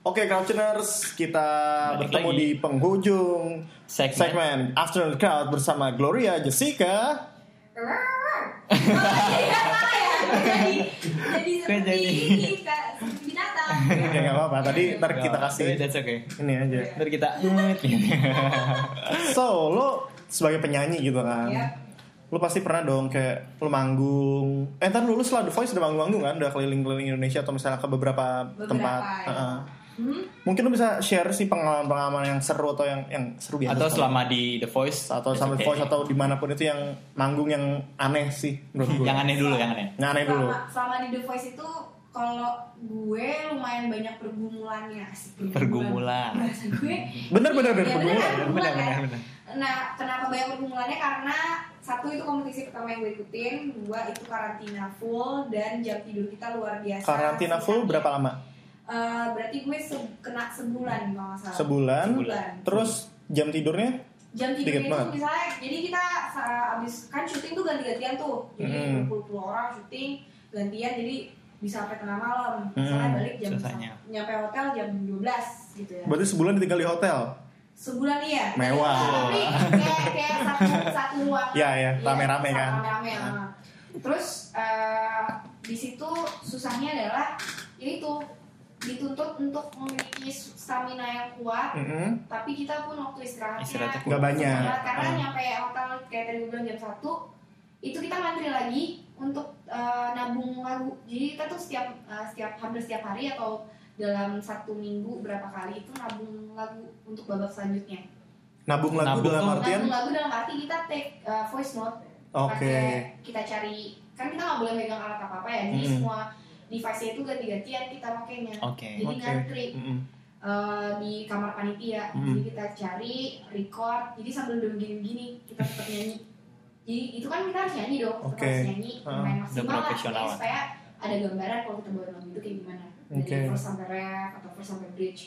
Oke, Crowdtuners, kita
Balik
bertemu
lagi.
di penghujung
Segmen.
segmen, Afternoon Crowd bersama Gloria Jessica.
ya? jadi jadi
Kok
seperti
jadi?
ini, Kak, seperti binatang.
Ya nggak apa-apa. Tadi ntar kita kasih
That's okay.
ini aja.
Ntar kita nyet, gitu.
So, lo sebagai penyanyi gitu kan.
Iya.
Lo pasti pernah dong kayak lo manggung. Eh, ntar lulus lah The Voice udah manggung-manggung kan, udah keliling-keliling Indonesia atau misalnya ke beberapa,
Beberapa,
tempat.
ya.
Heeh.
Hmm?
Mungkin lo bisa share sih pengalaman-pengalaman yang seru atau yang yang seru biasa.
atau selama di The Voice
atau
Gitu. that's
sampai
okay.
Voice atau dimanapun itu yang manggung yang aneh sih menurut gue.
yang aneh dulu yang aneh.
Yang aneh dulu.
Selama, selama di The Voice itu kalau gue lumayan banyak pergumulannya sih.
Pergumulan.
Bahasa gue.
Bener, bener, bener,
Iya,
pergumulan.
kan,
Bener,
kan?
bener, bener.
Nah, kenapa banyak pergumulannya? Karena satu itu kompetisi pertama yang gue ikutin, dua itu karantina full dan jam tidur kita luar biasa. Iya.
Karantina full berapa lama?
Eh, berarti gue se- kena sebulan kalau nggak salah.
Sebulan.
Sebulan.
Terus jam tidurnya?
jam tidur
Dikit
itu
banget.
misalnya jadi kita sa- abis kan syuting tuh ganti-gantian tuh jadi
Mm.
puluh orang syuting gantian jadi bisa sampai tengah malam misalnya
Mm.
balik jam
Selesainya.
nyampe hotel jam 12 gitu ya
Berarti sebulan ditinggal di hotel.
sebulan iya
Mewah.
tapi kayak kayak satu satu ruang
Iya, iya. Rame-rame
satu
kan.
rame-rame ya. terus eh, di situ susahnya adalah yaitu dituntut untuk memiliki stamina yang kuat
Mm-mm.
tapi kita pun waktu istirahatnya
Istirahatnya
Nggak banyak.
Istirahat, karena
Hmm.
nyampe hotel kayak tadi gue bilang jam 1 itu kita ngantri lagi untuk eh, nabung lagu jadi kita tuh setiap eh, setiap hampir setiap hari atau dalam satu minggu berapa kali itu nabung lagu untuk babak selanjutnya
Nabung lagu
Nabung
dalam
tuh-
artian
nabung lagu dalam arti kita take eh, voice note
Oke.
pakai kita cari kan kita nggak boleh megang alat apa apa ya jadi
Hmm.
semua device-nya itu ganti-gantian kita pakainya
Oke.
jadi
Oke.
ngantri
Mm-mm.
eh, di kamar panitia
Hmm.
jadi kita cari record jadi sambil udah begini-begini kita tetap nyanyi jadi itu kan kita harus nyanyi dong
Oke.
kita harus nyanyi main
Ah,
udah
maksimal lah
profesional.
ya, supaya ada gambaran kalau kita bawain lagu itu kayak gimana dari
Oke.
first sampai rap atau first sampai bridge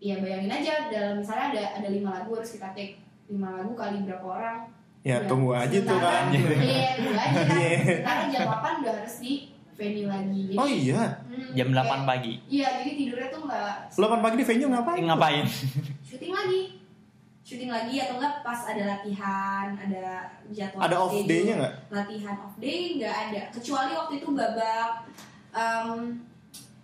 ya bayangin aja dalam misalnya ada ada lima lagu harus kita take lima lagu kali berapa orang
Ya, tunggu aja tuh
sementara-
kan. [LAUGHS]
iya tunggu aja kan
Iya.
sementara jam 8 udah harus di venue lagi jadi
Oh iya.
hmm,
Jam
kayak-
8 pagi. Eh,
iya jadi tidurnya tuh nggak
8 pagi di venue ngapain?
Ngapain?
syuting lagi syuting lagi atau enggak pas ada latihan ada jadwal
Ada off
schedule.
day-nya nggak?
latihan off day nggak ada kecuali waktu itu babak em,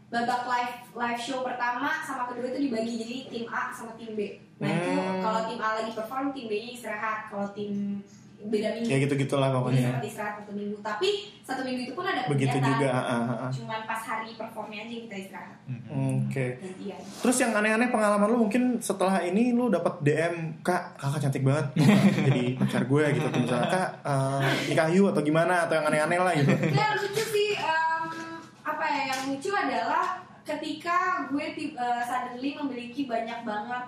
babak live live show pertama sama kedua itu dibagi jadi tim A sama tim B nah itu
Hmm.
kalau tim A lagi perform tim B nya istirahat kalau tim beda minggu
Ya gitu-gitulah
jadi
pokoknya.
sempat istirahat satu minggu tapi satu minggu itu pun ada
Begitu
kegiatan.
juga. ah, ah, ah.
cuman pas hari performnya aja kita istirahat ya.
Oke.
gantian
Terus yang aneh-aneh pengalaman lu mungkin setelah ini lu dapat DM kak kakak cantik banget mau nggak jadi pacar gue gitu atau misalnya kak eh, nikah yuk atau gimana atau yang aneh-aneh lah gitu.
Ya lucu sih em, apa ya yang lucu adalah ketika gue tiba, suddenly memiliki banyak banget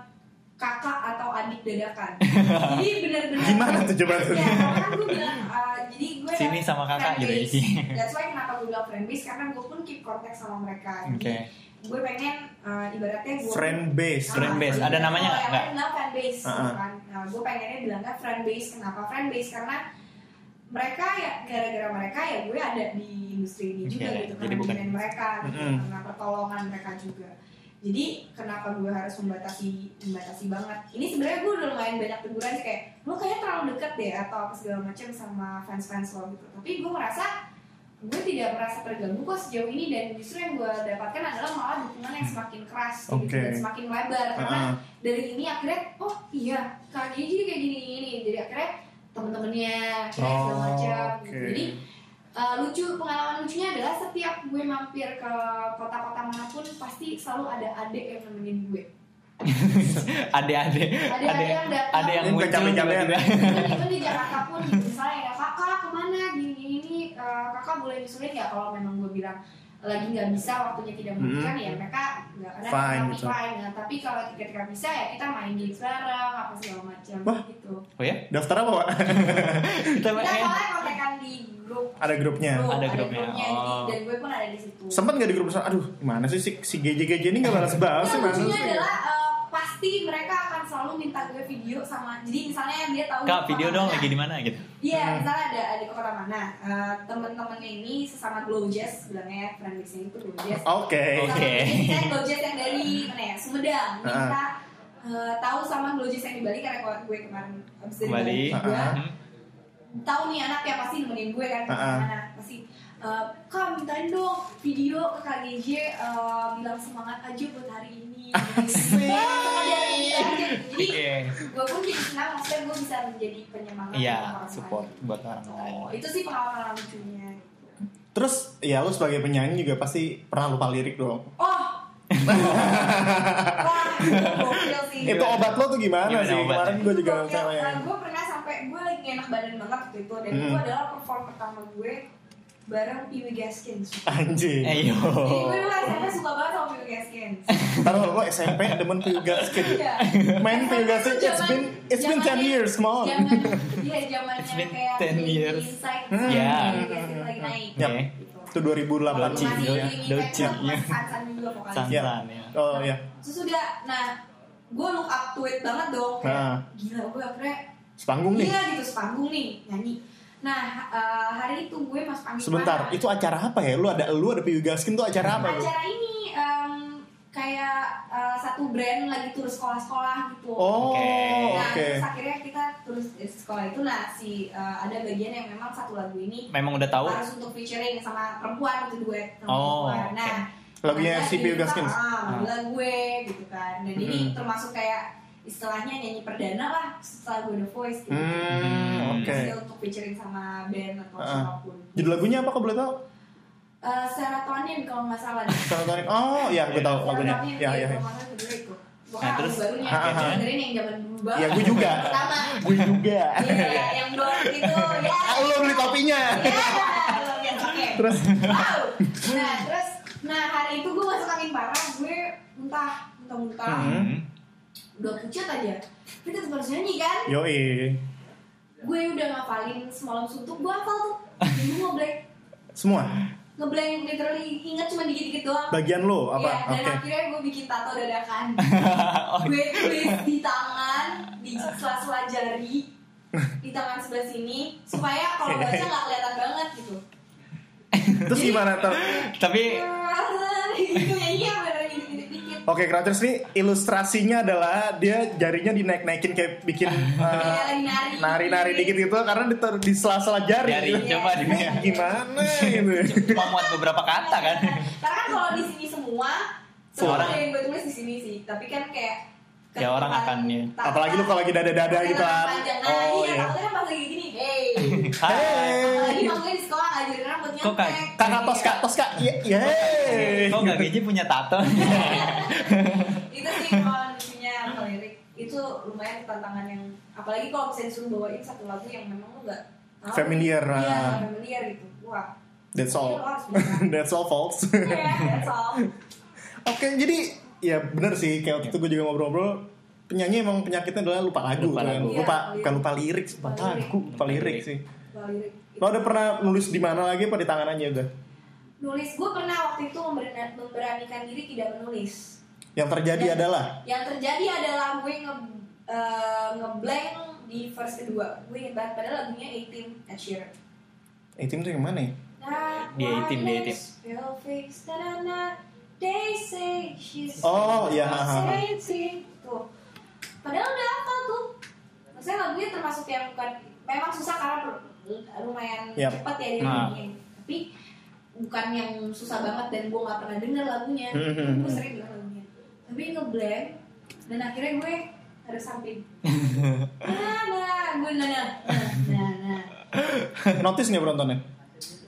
kakak atau adik dadakan.
[LAUGHS]
jadi benar-benar
Gimana tuh coba tuh?
Ya, karena kan gue bilang eh, jadi gue
Sini sama kakak gitu
friendbase.
isinya.
That's why kenapa gue bilang friend base karena gue pun keep kontak sama mereka.
Oke.
Jadi Gue pengen eh, ibaratnya gue
Friend base.
Friend base.
friend
Ada namanya
Kalau yang
nggak?
lain bilang friend base,
Ah, ah.
gitu kan. Nah, gue pengennya bilangnya friend base. Kenapa friend base? Karena mereka ya gara-gara mereka ya gue ada di industri ini juga
Oke,
gitu
jadi
karena
bukan-
dengan mereka gitu,
Mm-mm.
karena pertolongan mereka juga. Jadi kenapa gue harus membatasi membatasi banget? Ini sebenarnya gue udah lumayan banyak teguran sih kayak lo kayaknya terlalu dekat deh atau apa segala macam sama fans-fans lo gitu. Tapi gue merasa gue tidak merasa terganggu kok sejauh ini dan justru yang gue dapatkan adalah malah dukungan yang semakin keras gitu,
Oke.
dan semakin lebar karena
Ah, ah.
dari ini akhirnya oh iya kak Gigi kayak gini gini jadi akhirnya temen-temennya akhirnya segala
Oh,
macam gitu.
oke.
jadi eh, lucu pengalaman lucunya adalah setiap gue mampir ke kota-kota manapun pasti selalu ada adik yang nemenin gue
Ade-ade.
Ade-ade
Ade
yang datang.
ade yang
Ini ya? bukan
muncul
cabe-cabean.
tiba-tiba.
even di Jakarta pun gitu, misalnya ya kakak kemana gini gini gini eh, kakak boleh nyusulin nggak kalau memang gue bilang lagi nggak bisa waktunya tidak memungkinkan ya mereka nggak ada
Hmm. Fine,
kami
gitu.
fine Nah, tapi kalau ketika bisa ya kita main game bareng apa segala macam
Wah.
gitu
Oh ya? eh,
Daftar apa pak? [LAUGHS]
kita
Kita main.
soalnya kontekan di grup
Ada grupnya.
grup,
Ada grupnya,
jadi-
oh.
dan gue pun ada di situ
Sempet nggak di grup besar? Aduh, gimana sih si, si GJ GJ ini nggak balas balas
Yang
sih
lucunya adalah eh, pas pasti mereka akan selalu minta gue video sama jadi misalnya dia tahu
Kak
di
video
kota
dong
mana.
lagi di mana gitu.
Iya, misalnya ada ada ke kota mana. Eh, temen-temennya ini sesama Glow Jazz, bilangnya ya, friend mixnya itu Glow Jazz.
Oke.
Sama
Oke.
Misalnya Glow Jazz yang dari mana ya? Sumedang. Minta eh, tahu sama Glow Jazz yang di Bali karena gue kemarin habis dari
Kembali. Hmm.
Gue
Heeh.
tahu nih anaknya pasti nemenin gue kan
Heeh.
kemana-mana. Pasti eh, kak mintain dong video ke KGJ eh, bilang semangat aja buat hari ini. Wah, iya, iya, iya. Jadi
Oke.
gue pun jadi senang maksudnya gue bisa menjadi penyemangat
Iya,
untuk orang
support
lain.
buat orang lain.
Oh, itu sih pengalaman lucunya.
Terus ya lu sebagai penyanyi juga pasti pernah lupa lirik dong.
[LAUGHS] Oh. Wah, itu gokil sih.
Itu obat lo tuh Iya. gimana,
Gimana
sih?
obatnya?
Kemarin gue juga sama yang
gue pernah sampai gue lagi nggak enak badan banget waktu itu dan itu
Hmm.
adalah perform pertama gue bareng Piwi Gaskins.
anjing.
Ayo.
Oh.
Jadi gue dulu SMP suka banget sama Piwi
[LAUGHS]
Gaskins.
Ntar lo SMP demen Piyugas Kid.
Iya.
Main Piyugas Kid, it's been it's been 10 years, come on.
Zaman, iya zamannya
It's been
kayak
10
Baby
years.
Insight,
Hmm.
Iya.
Iya.
lagi naik.
Yap.
Oke.
Gitu.
Itu 2008
Doci.
Masih
ya.
ini
Doci,
kan
ya.
san-san juga vokalis.
Iya.
Santan ya.
Oh iya.
Terus udah, nah gue look up to it banget dong kayak
Nah.
gila gue akhirnya
Sepanggung nih.
gila gitu sepanggung nih nyanyi. Nah eh, hari itu gue mas panggung
Sebentar,
mana?
itu acara apa ya? Lu ada lu ada Piyugas Kid tuh acara apa lu?
acara ini em, kayak eh, satu brand lagi tur sekolah-sekolah gitu.
Oh,
Oke.
oke.
Nah, terus akhirnya kita terus di sekolah itu nah si eh, ada bagian yang memang satu lagu ini
Memang udah tahu.
harus untuk featuring sama perempuan itu duet sama
Oh,
perempuan. Nah,
Lagunya
makanya
si Bill
kita,
Gaskins?
ah, lagu gue gitu kan. Dan ini
Hmm.
termasuk kayak istilahnya nyanyi perdana lah setelah gue The Voice gitu.
Hmm,
Hmm.
oke.
Terus dia untuk featuring sama band atau
Ah.
siapapun.
Judul lagunya apa kau boleh tahu?
Eh, Serotonin kalau nggak salah. deh.
Salah tarik. Oh, iya, gue tahu lagunya.
Serotonin,
Iya, iya.
kalau nggak salah judulnya itu. Bukan
Nah,
album
terus-
barunya,
Ah, ah, ah.
dengerin yang zaman dulu banget.
Iya, gue juga. [LAUGHS]
Pertama.
Gue juga.
Iya, yang dua
[LAUGHS]
gitu. Ya.
Ah, Lu beli topinya.
Terus Nah, terus nah hari itu gue masuk angin parah, gue muntah, muntah-muntah.
Hmm.
Udah pucat aja. Kita tetap harus nyanyi kan?
Yoi.
Gue udah ngapalin semalam suntuk, gue hafal tuh. Gue ngeblank,
Semua
ngeblank literally inget cuma dikit-dikit doang.
bagian lo apa?
Iya, dan
Oke. iya.
akhirnya gue bikin tato
[LAUGHS]
dadakan.
Oh,
gue tulis di tangan, di sela-sela jari, di tangan sebelah sini, supaya kalau baca nggak kelihatan banget gitu.
Terus gimana tuh?
[LAUGHS]
Tapi
itu nyanyinya Ah, iya, beneran dikit-dikit
Oke, kreators nih ilustrasinya adalah dia jarinya dinaik-naikin kayak bikin
Kayak
uh,
Iya, lagi nari
nari-nari dikit gitu karena ditaruh di sela-sela jari.
dari
Iya.
coba di
Gimana gitu.
[LAUGHS]
cuma muat beberapa kata kan.
karena kan kalau di sini semua semua
Orang.
yang gue tulis di sini sih tapi kan kayak
Ya, orang
ketutupan
akan, ya.
tangan,
Apalagi lu kalau lagi dada-dada gitu
tangan
kan.
panjang. nah,
Oh
iya,
iya.
takutnya kan pas lagi gini hey
Hai.
apalagi
Hey.
manggil di sekolah ngajarin rambutnya
Kok kayak-
Kak tos kak tos kak. iya. Ye-
Iya.
Yeay.
Kok gitu? gak gaji punya tato?
Iya, itu sih kalau lucunya kalau lirik itu lumayan tantangan yang apalagi kalau misalnya disuruh bawain satu lagu yang memang lu nggak tahu.
Familiar,
iya
ah.
nggak familiar gitu
[LAUGHS]
wah
That's
Lu
all.
harus bisa.
[LAUGHS] That's all false.
Iya, that's all.
Oke, jadi ya benar sih kayak waktu itu gue juga ngobrol-ngobrol penyanyi emang penyakitnya adalah lupa lagu
Lupa
kan.
lagu.
Lupa
Iya,
bukan lupa lirik, lupa
Lupa lirik.
lagu, lupa
Lupa
lirik
lirik.
sih.
Kalau lirik itu.
Lo udah pernah nulis di mana lagi apa di tangan aja udah?
nulis gue pernah waktu itu memberani- memberanikan diri tidak menulis
Yang terjadi
Dan-
adalah
yang terjadi adalah gue nge eh, ngeblank di verse kedua gue ingat banget padahal lagunya 18 Ed Sheeran
eh tim tuh yang mana ya? [LAUGHS]
Nah,
Di 18, di 18.
They say she's
Oh, iya, ha, ha, ha.
crazy. Tuh. Padahal udah apa tuh? Maksudnya lagunya termasuk yang bukan memang susah karena per- lumayan
Yap.
cepat ya dia
Nah.
nyanyiin. Tapi bukan yang susah banget dan gue gak pernah denger lagunya.
Hmm, hmm,
gue
hmm.
sering denger lagunya. Tapi ngeblank dan akhirnya gue harus
[LAUGHS]
samping. nah, nah, gue nah, nah, nah, nah, nah
Notice nggak penontonnya?
Hmm.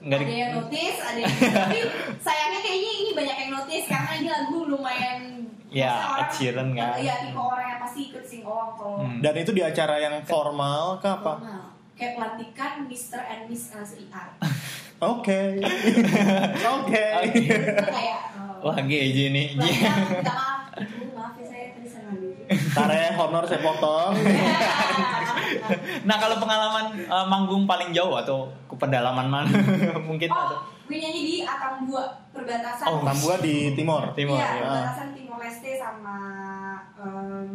Nggak
ada
di-
yang notice, ada yang
[LAUGHS]
tapi sayangnya kayaknya ini banyak yang notice karena ini lagu lumayan
Ya,
Maksudnya orang-
Ed Sheeran kan.
Iya, tipe orang yang pasti ikut sing along kalau
Hmm.
Dan itu di acara yang formal kah apa?
formal. Kayak pelantikan Mr. and Miss eh,
[LAUGHS]
LSIR Oh. [LAUGHS]
Oke. Oke.
Oke.
Itu kayak eh,
Wah iya. gaji nih.
pelantikan, minta maaf, Ibu, maaf ya saya tadi salah
[LAUGHS] Iya,
dulu
Tare ya, honor saya
[LAUGHS]
potong.
Nah kalau pengalaman eh, manggung paling jauh atau ke pedalaman mana [LAUGHS] mungkin
Oh,
atau
gue nyanyi di Atambua, perbatasan
iya, Oh,
Tambua di Timor.
timur
Iya,
ya.
perbatasan Timor Leste sama eh, um,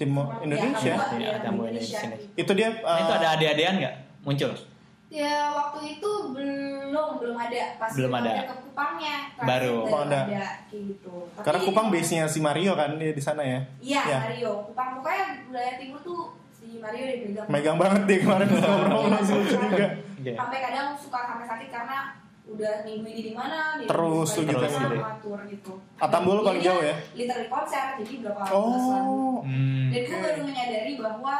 Timur
format-
Indonesia.
ya, tamu-
Iya,
ya,
tamu
tamu Indonesia.
Indonesia.
Itu dia
Nah, itu
eh,
ada ade-adean nggak muncul?
Ya waktu itu belum belum ada pas
Belum
kita
ada.
mampir ke Kupangnya terakhir
Baru.
baru
Ada.
ada, kayak gitu. Tapi-
karena Kupang base-nya si Mario kan dia di sana ya.
Iya
Iya.
Mario. Kupang pokoknya budaya timur tuh si Mario yang pegang.
Megang
[LAUGHS]
banget Iya, dia kemarin ngobrol langsung lucu juga.
Iya.
Sampai kadang suka sampai sakit karena udah minggu ini di mana minggu
Terus
ini di
tuh
mana,
gitu ya.
atur gitu.
Atambul paling
Jadi
jauh ya?
Literally konser jadi berapa belas lagu.
Oh,
Hmm.
Dan gue
Oke.
baru menyadari bahwa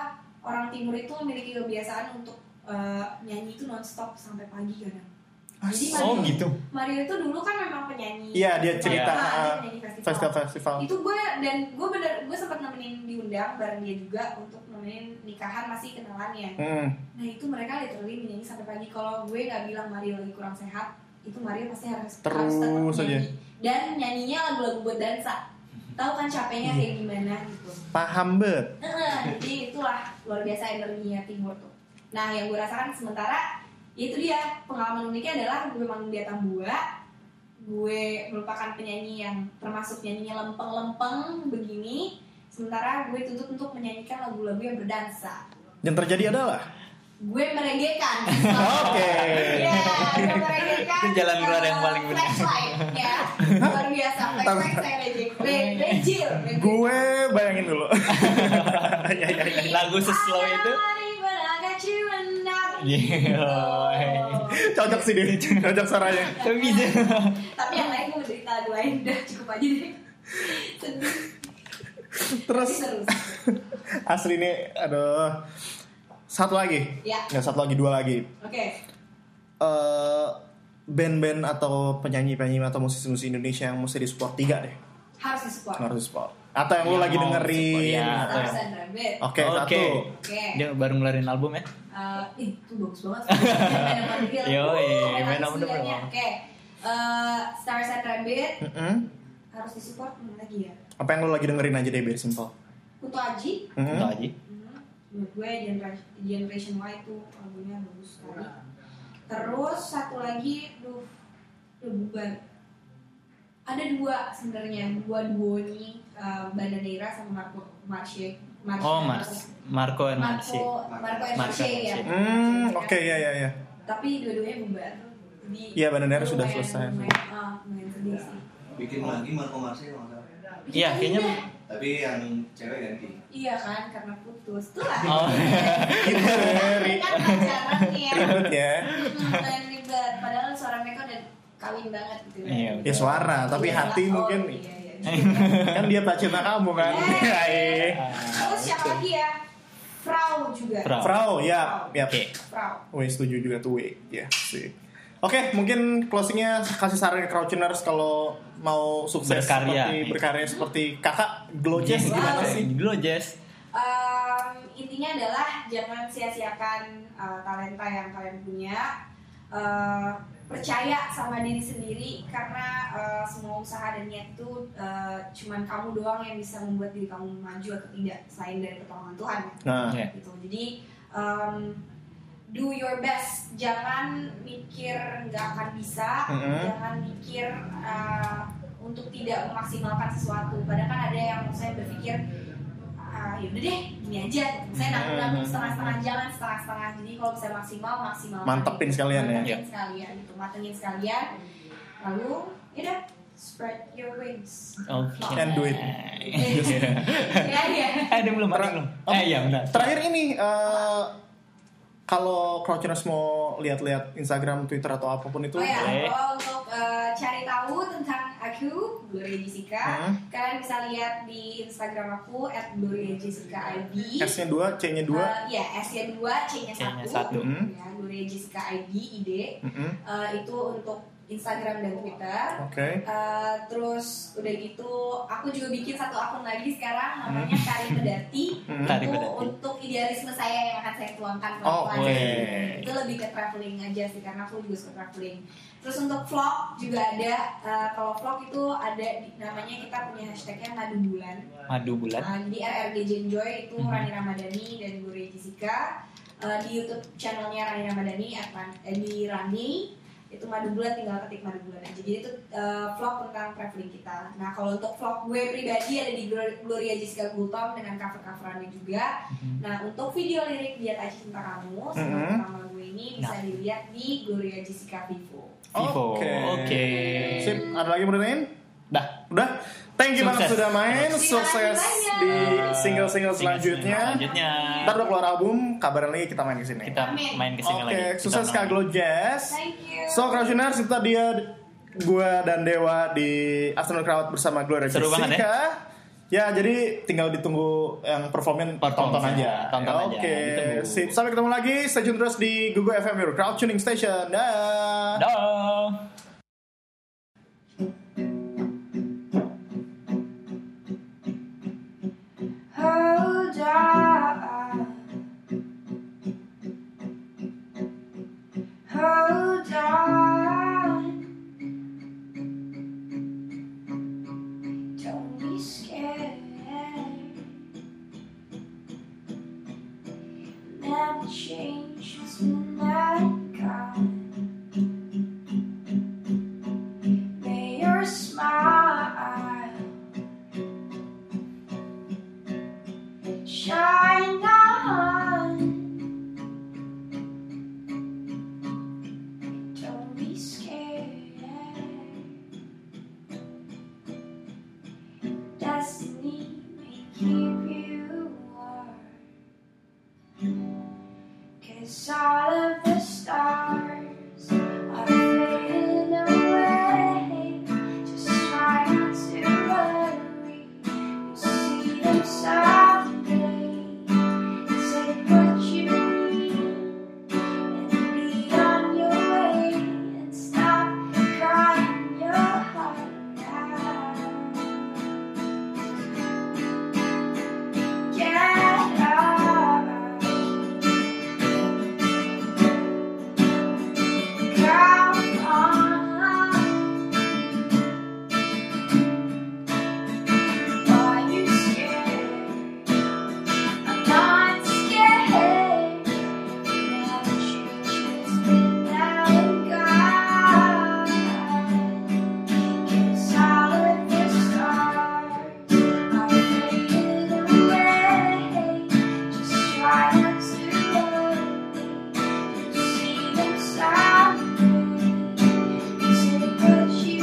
orang timur itu memiliki kebiasaan untuk eh, nyanyi itu nonstop sampai pagi kadang. Jadi
Asik.
Oh
Mario,
gitu.
Mario itu dulu kan memang penyanyi.
Iya, dia
Nah,
cerita,
dia
ah,
penyanyi
festival festival.
itu gue dan gue bener gue sempat nemenin diundang bareng dia juga untuk nemenin nikahan masih kenalannya
Hmm.
nah itu mereka literally menyanyi sampai pagi kalau gue nggak bilang Mario lagi kurang sehat itu Mario pasti harus harus tetap
Terus
nyanyi.
aja.
dan nyanyinya lagu-lagu buat dansa tahu kan capeknya kayak gimana gitu
Paham bet.
Heeh, jadi itulah luar biasa energinya timur tuh nah yang gue rasakan sementara itu dia pengalaman uniknya adalah gue memang dia tambua gue merupakan penyanyi yang termasuk nyanyinya lempeng-lempeng begini sementara gue tuntut untuk menyanyikan lagu-lagu yang berdansa
Yang terjadi adalah
gue merenggekkan
Oke.
ya gue merenggekkan
Itu jalan keluar yang
eh,
paling benar.
flashlight ya luar biasa flashlight saya rejek Re- rejil rejil.
gue bayangin [LAUGHS] dulu. Ya, ya, ya.
Lagu seslow
I
itu.
got it, but I got you and I-
Gila.
Cocok sih dia, cocok suaranya.
Tapi bisa.
tapi yang lain gue menderita dua lain udah cukup aja deh sedih
Terus
Tapi seru
asli nih, aduh. Satu lagi.
Ya.
Nggak, satu lagi, dua lagi.
oke
eh band-band atau penyanyi-penyanyi atau musisi-musisi Indonesia yang mesti di-support tiga deh.
harus disupport
Harus di-support. Atau yang lu
Yang
lagi
mau
dengerin.
support, ya.
atau
harus
yang-
Sandra Bed oke
Oke,
Oke.
satu.
Dia baru ngeluarin album ya?
Eh, ih, itu bagus banget Ada yang manggil.
Yoi,
Uh, ada
main apa
yang
dong,
manggilnya.
Bang?
oke Eh, Stars and Rabbit
Mm-mm.
harus disupport mana lagi ya
Apa yang lu lagi dengerin aja deh biar simple.
Kuto Aji
Mm-mm.
Itu aja.
hmm, menurut gue Generation, Generation Y tuh lagunya bagus sekali terus satu lagi duh udah bubar ada dua sebenarnya dua duo ini uh, Bananera sama Marco Marche Marche
Oh, Mars. Marco and Marci.
Marco Marco and
Marco
Marche
and
ya
Marche.
Hmm, oke ya ya ya.
tapi dua-duanya bubar Jadi
Iya, Bananera sudah
lumayan-
selesai.
lumayan, ah, lumayan sedih sih.
bikin lagi Marco Marseille kalau nggak salah.
Iya, kayaknya.
tapi yang cewek ganti
iya kan karena putus tuh lah
Oh. Iya.
Gitu
[LAUGHS]
Ini
Ri-
kan pacaran ya
ribet ya.
Hmm, lumayan ribet padahal suara mereka udah kawin banget gitu ya.
Iya,
Ya suara, tapi
Iya,
hati
oh,
mungkin
iya, iya.
kan dia tak cinta kamu kan.
Iya.
Iya.
Terus siapa lagi ya? Frau juga.
Frau.
Frau, ya, ya.
Oke.
Frau.
Wih setuju juga tuh Wei ya sih. Oke, mungkin closingnya kasih saran ke Crouchiners kalau mau sukses
Berkarya.
seperti berkarya seperti kakak Glojes gimana sih?
Dulu Jess.
Em, intinya adalah jangan sia-siakan eh, talenta yang kalian punya. Eh, percaya sama diri sendiri karena eh, semua usaha dan niat itu eh, cuman kamu doang yang bisa membuat diri kamu maju atau tidak selain dari pertolongan Tuhan. ya.
Nah,
Iya.
gitu jadi um, do your best jangan mikir nggak akan bisa
Mhm.
jangan mikir uh, untuk tidak memaksimalkan sesuatu padahal kan ada yang saya berpikir ah yaudah deh gini aja saya nanggung nanggung
Mhm.
setengah setengah jangan setengah setengah jadi kalau bisa maksimal maksimal Gitu.
Mantepin sekalian ya.
mantepin sekalian gitu matengin sekalian lalu yaudah spread your
[LAUGHS]
wings
Oke.
And do it.
ya ya
[LAUGHS] Eh, dia belum
Ter-
belum.
Oh.
Eh, iya benar.
terakhir ini eh, kalau Crouchiners mau lihat-lihat Instagram, Twitter atau apapun
Oh
itu
ya,
Boleh.
kalau untuk eh, cari tahu tentang aku, Gloria Jessica,
Hmm.
kalian bisa lihat di Instagram aku @gloriajessicaid.
S-nya 2, C-nya 2.
Eh, Iya, S-nya 2, C-nya
C-nya
1.
satu.
Hmm.
Ya, Gloria Jessica ID, ID.
Mm-mm.
Eh, itu untuk Instagram dan Twitter.
Oke.
Eh, terus udah gitu, aku juga bikin satu akun lagi sekarang namanya Tari Pedati.
Hmm.
Tari
Itu
Pedati.
untuk idealisme saya yang akan saya tuangkan
Oh,
pelan-pelan.
weh.
Itu lebih ke traveling aja sih karena aku juga suka traveling. Terus untuk vlog juga ada. eh, kalau vlog itu ada di- namanya kita punya hashtagnya Madu Bulan.
Madu bulat.
Um,
Uh, jadi RRG Jenjoy itu
Mhm.
Rani Ramadhani dan Gure Jessica Uh, di YouTube channelnya Rani Ramadhani Advan- eh, di Rani
itu madu bulan tinggal ketik madu bulan aja jadi itu eh, vlog tentang traveling kita nah kalau untuk vlog gue pribadi ada di Glor- Gloria Jessica Gultom dengan cover coverannya juga nah untuk video lirik dia tak cinta kamu sama
Mhm.
pertama gue ini bisa dilihat di Gloria Jessica Vivo
Vivo.
Oke.
Oke.
Sip, ada lagi yang mau ditanyain?
Dah.
Udah. Thank you banget
Sukses.
sudah main.
Terima kasih
Sukses
banyak.
di single-single selanjutnya.
Selanjutnya.
Ntar udah keluar album, kabarin lagi kita main di sini.
Kita
Amin.
main ke sini
Oke,
lagi. Kita
sukses
main.
Kak Glow Jazz.
thank you
So, Crowdtuners, kita dia gue dan Dewa di Afternoon Crowd bersama Gloria
Seru banget,
Jessica. Ya, jadi tinggal ditunggu yang performance
Perform
tonton
saja,
aja.
tonton aja,
Oke,
ditunggu.
sip. Sampai ketemu lagi. Stay tune terus di Google FM Your Crowd Tuning Station. Dah.
Dah.
Hold on. Hold on. Don't be scared. Never changes when I come. May your smile. shine on. Don't be scared. Destiny may keep you warm. Cause all of the stars are fading away. Just try not to worry. You see them softly. Take what you need and be on your way. And stop crying your heart out. Get up. Come on. Are you scared? I'm not scared. Never changes without God. 'Cause all of the stars are fading away. Just try not to worry. See them softly. Take what you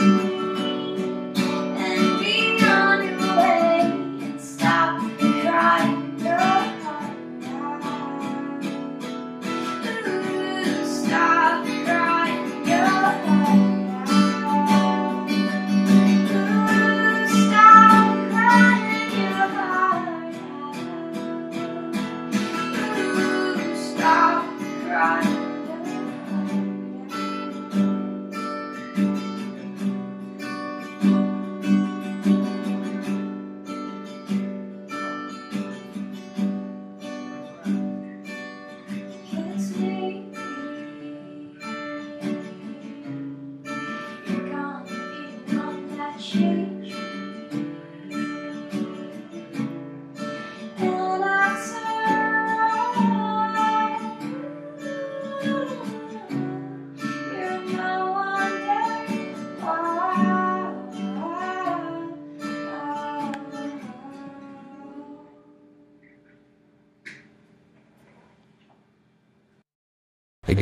need and be on your way and stop crying your heart out. Ooh, stop crying your heart out. Ooh, stop crying your heart out. Ooh, stop crying your heart out. Kiss me. You're gone, you know that change. And I turn. You're my wonder.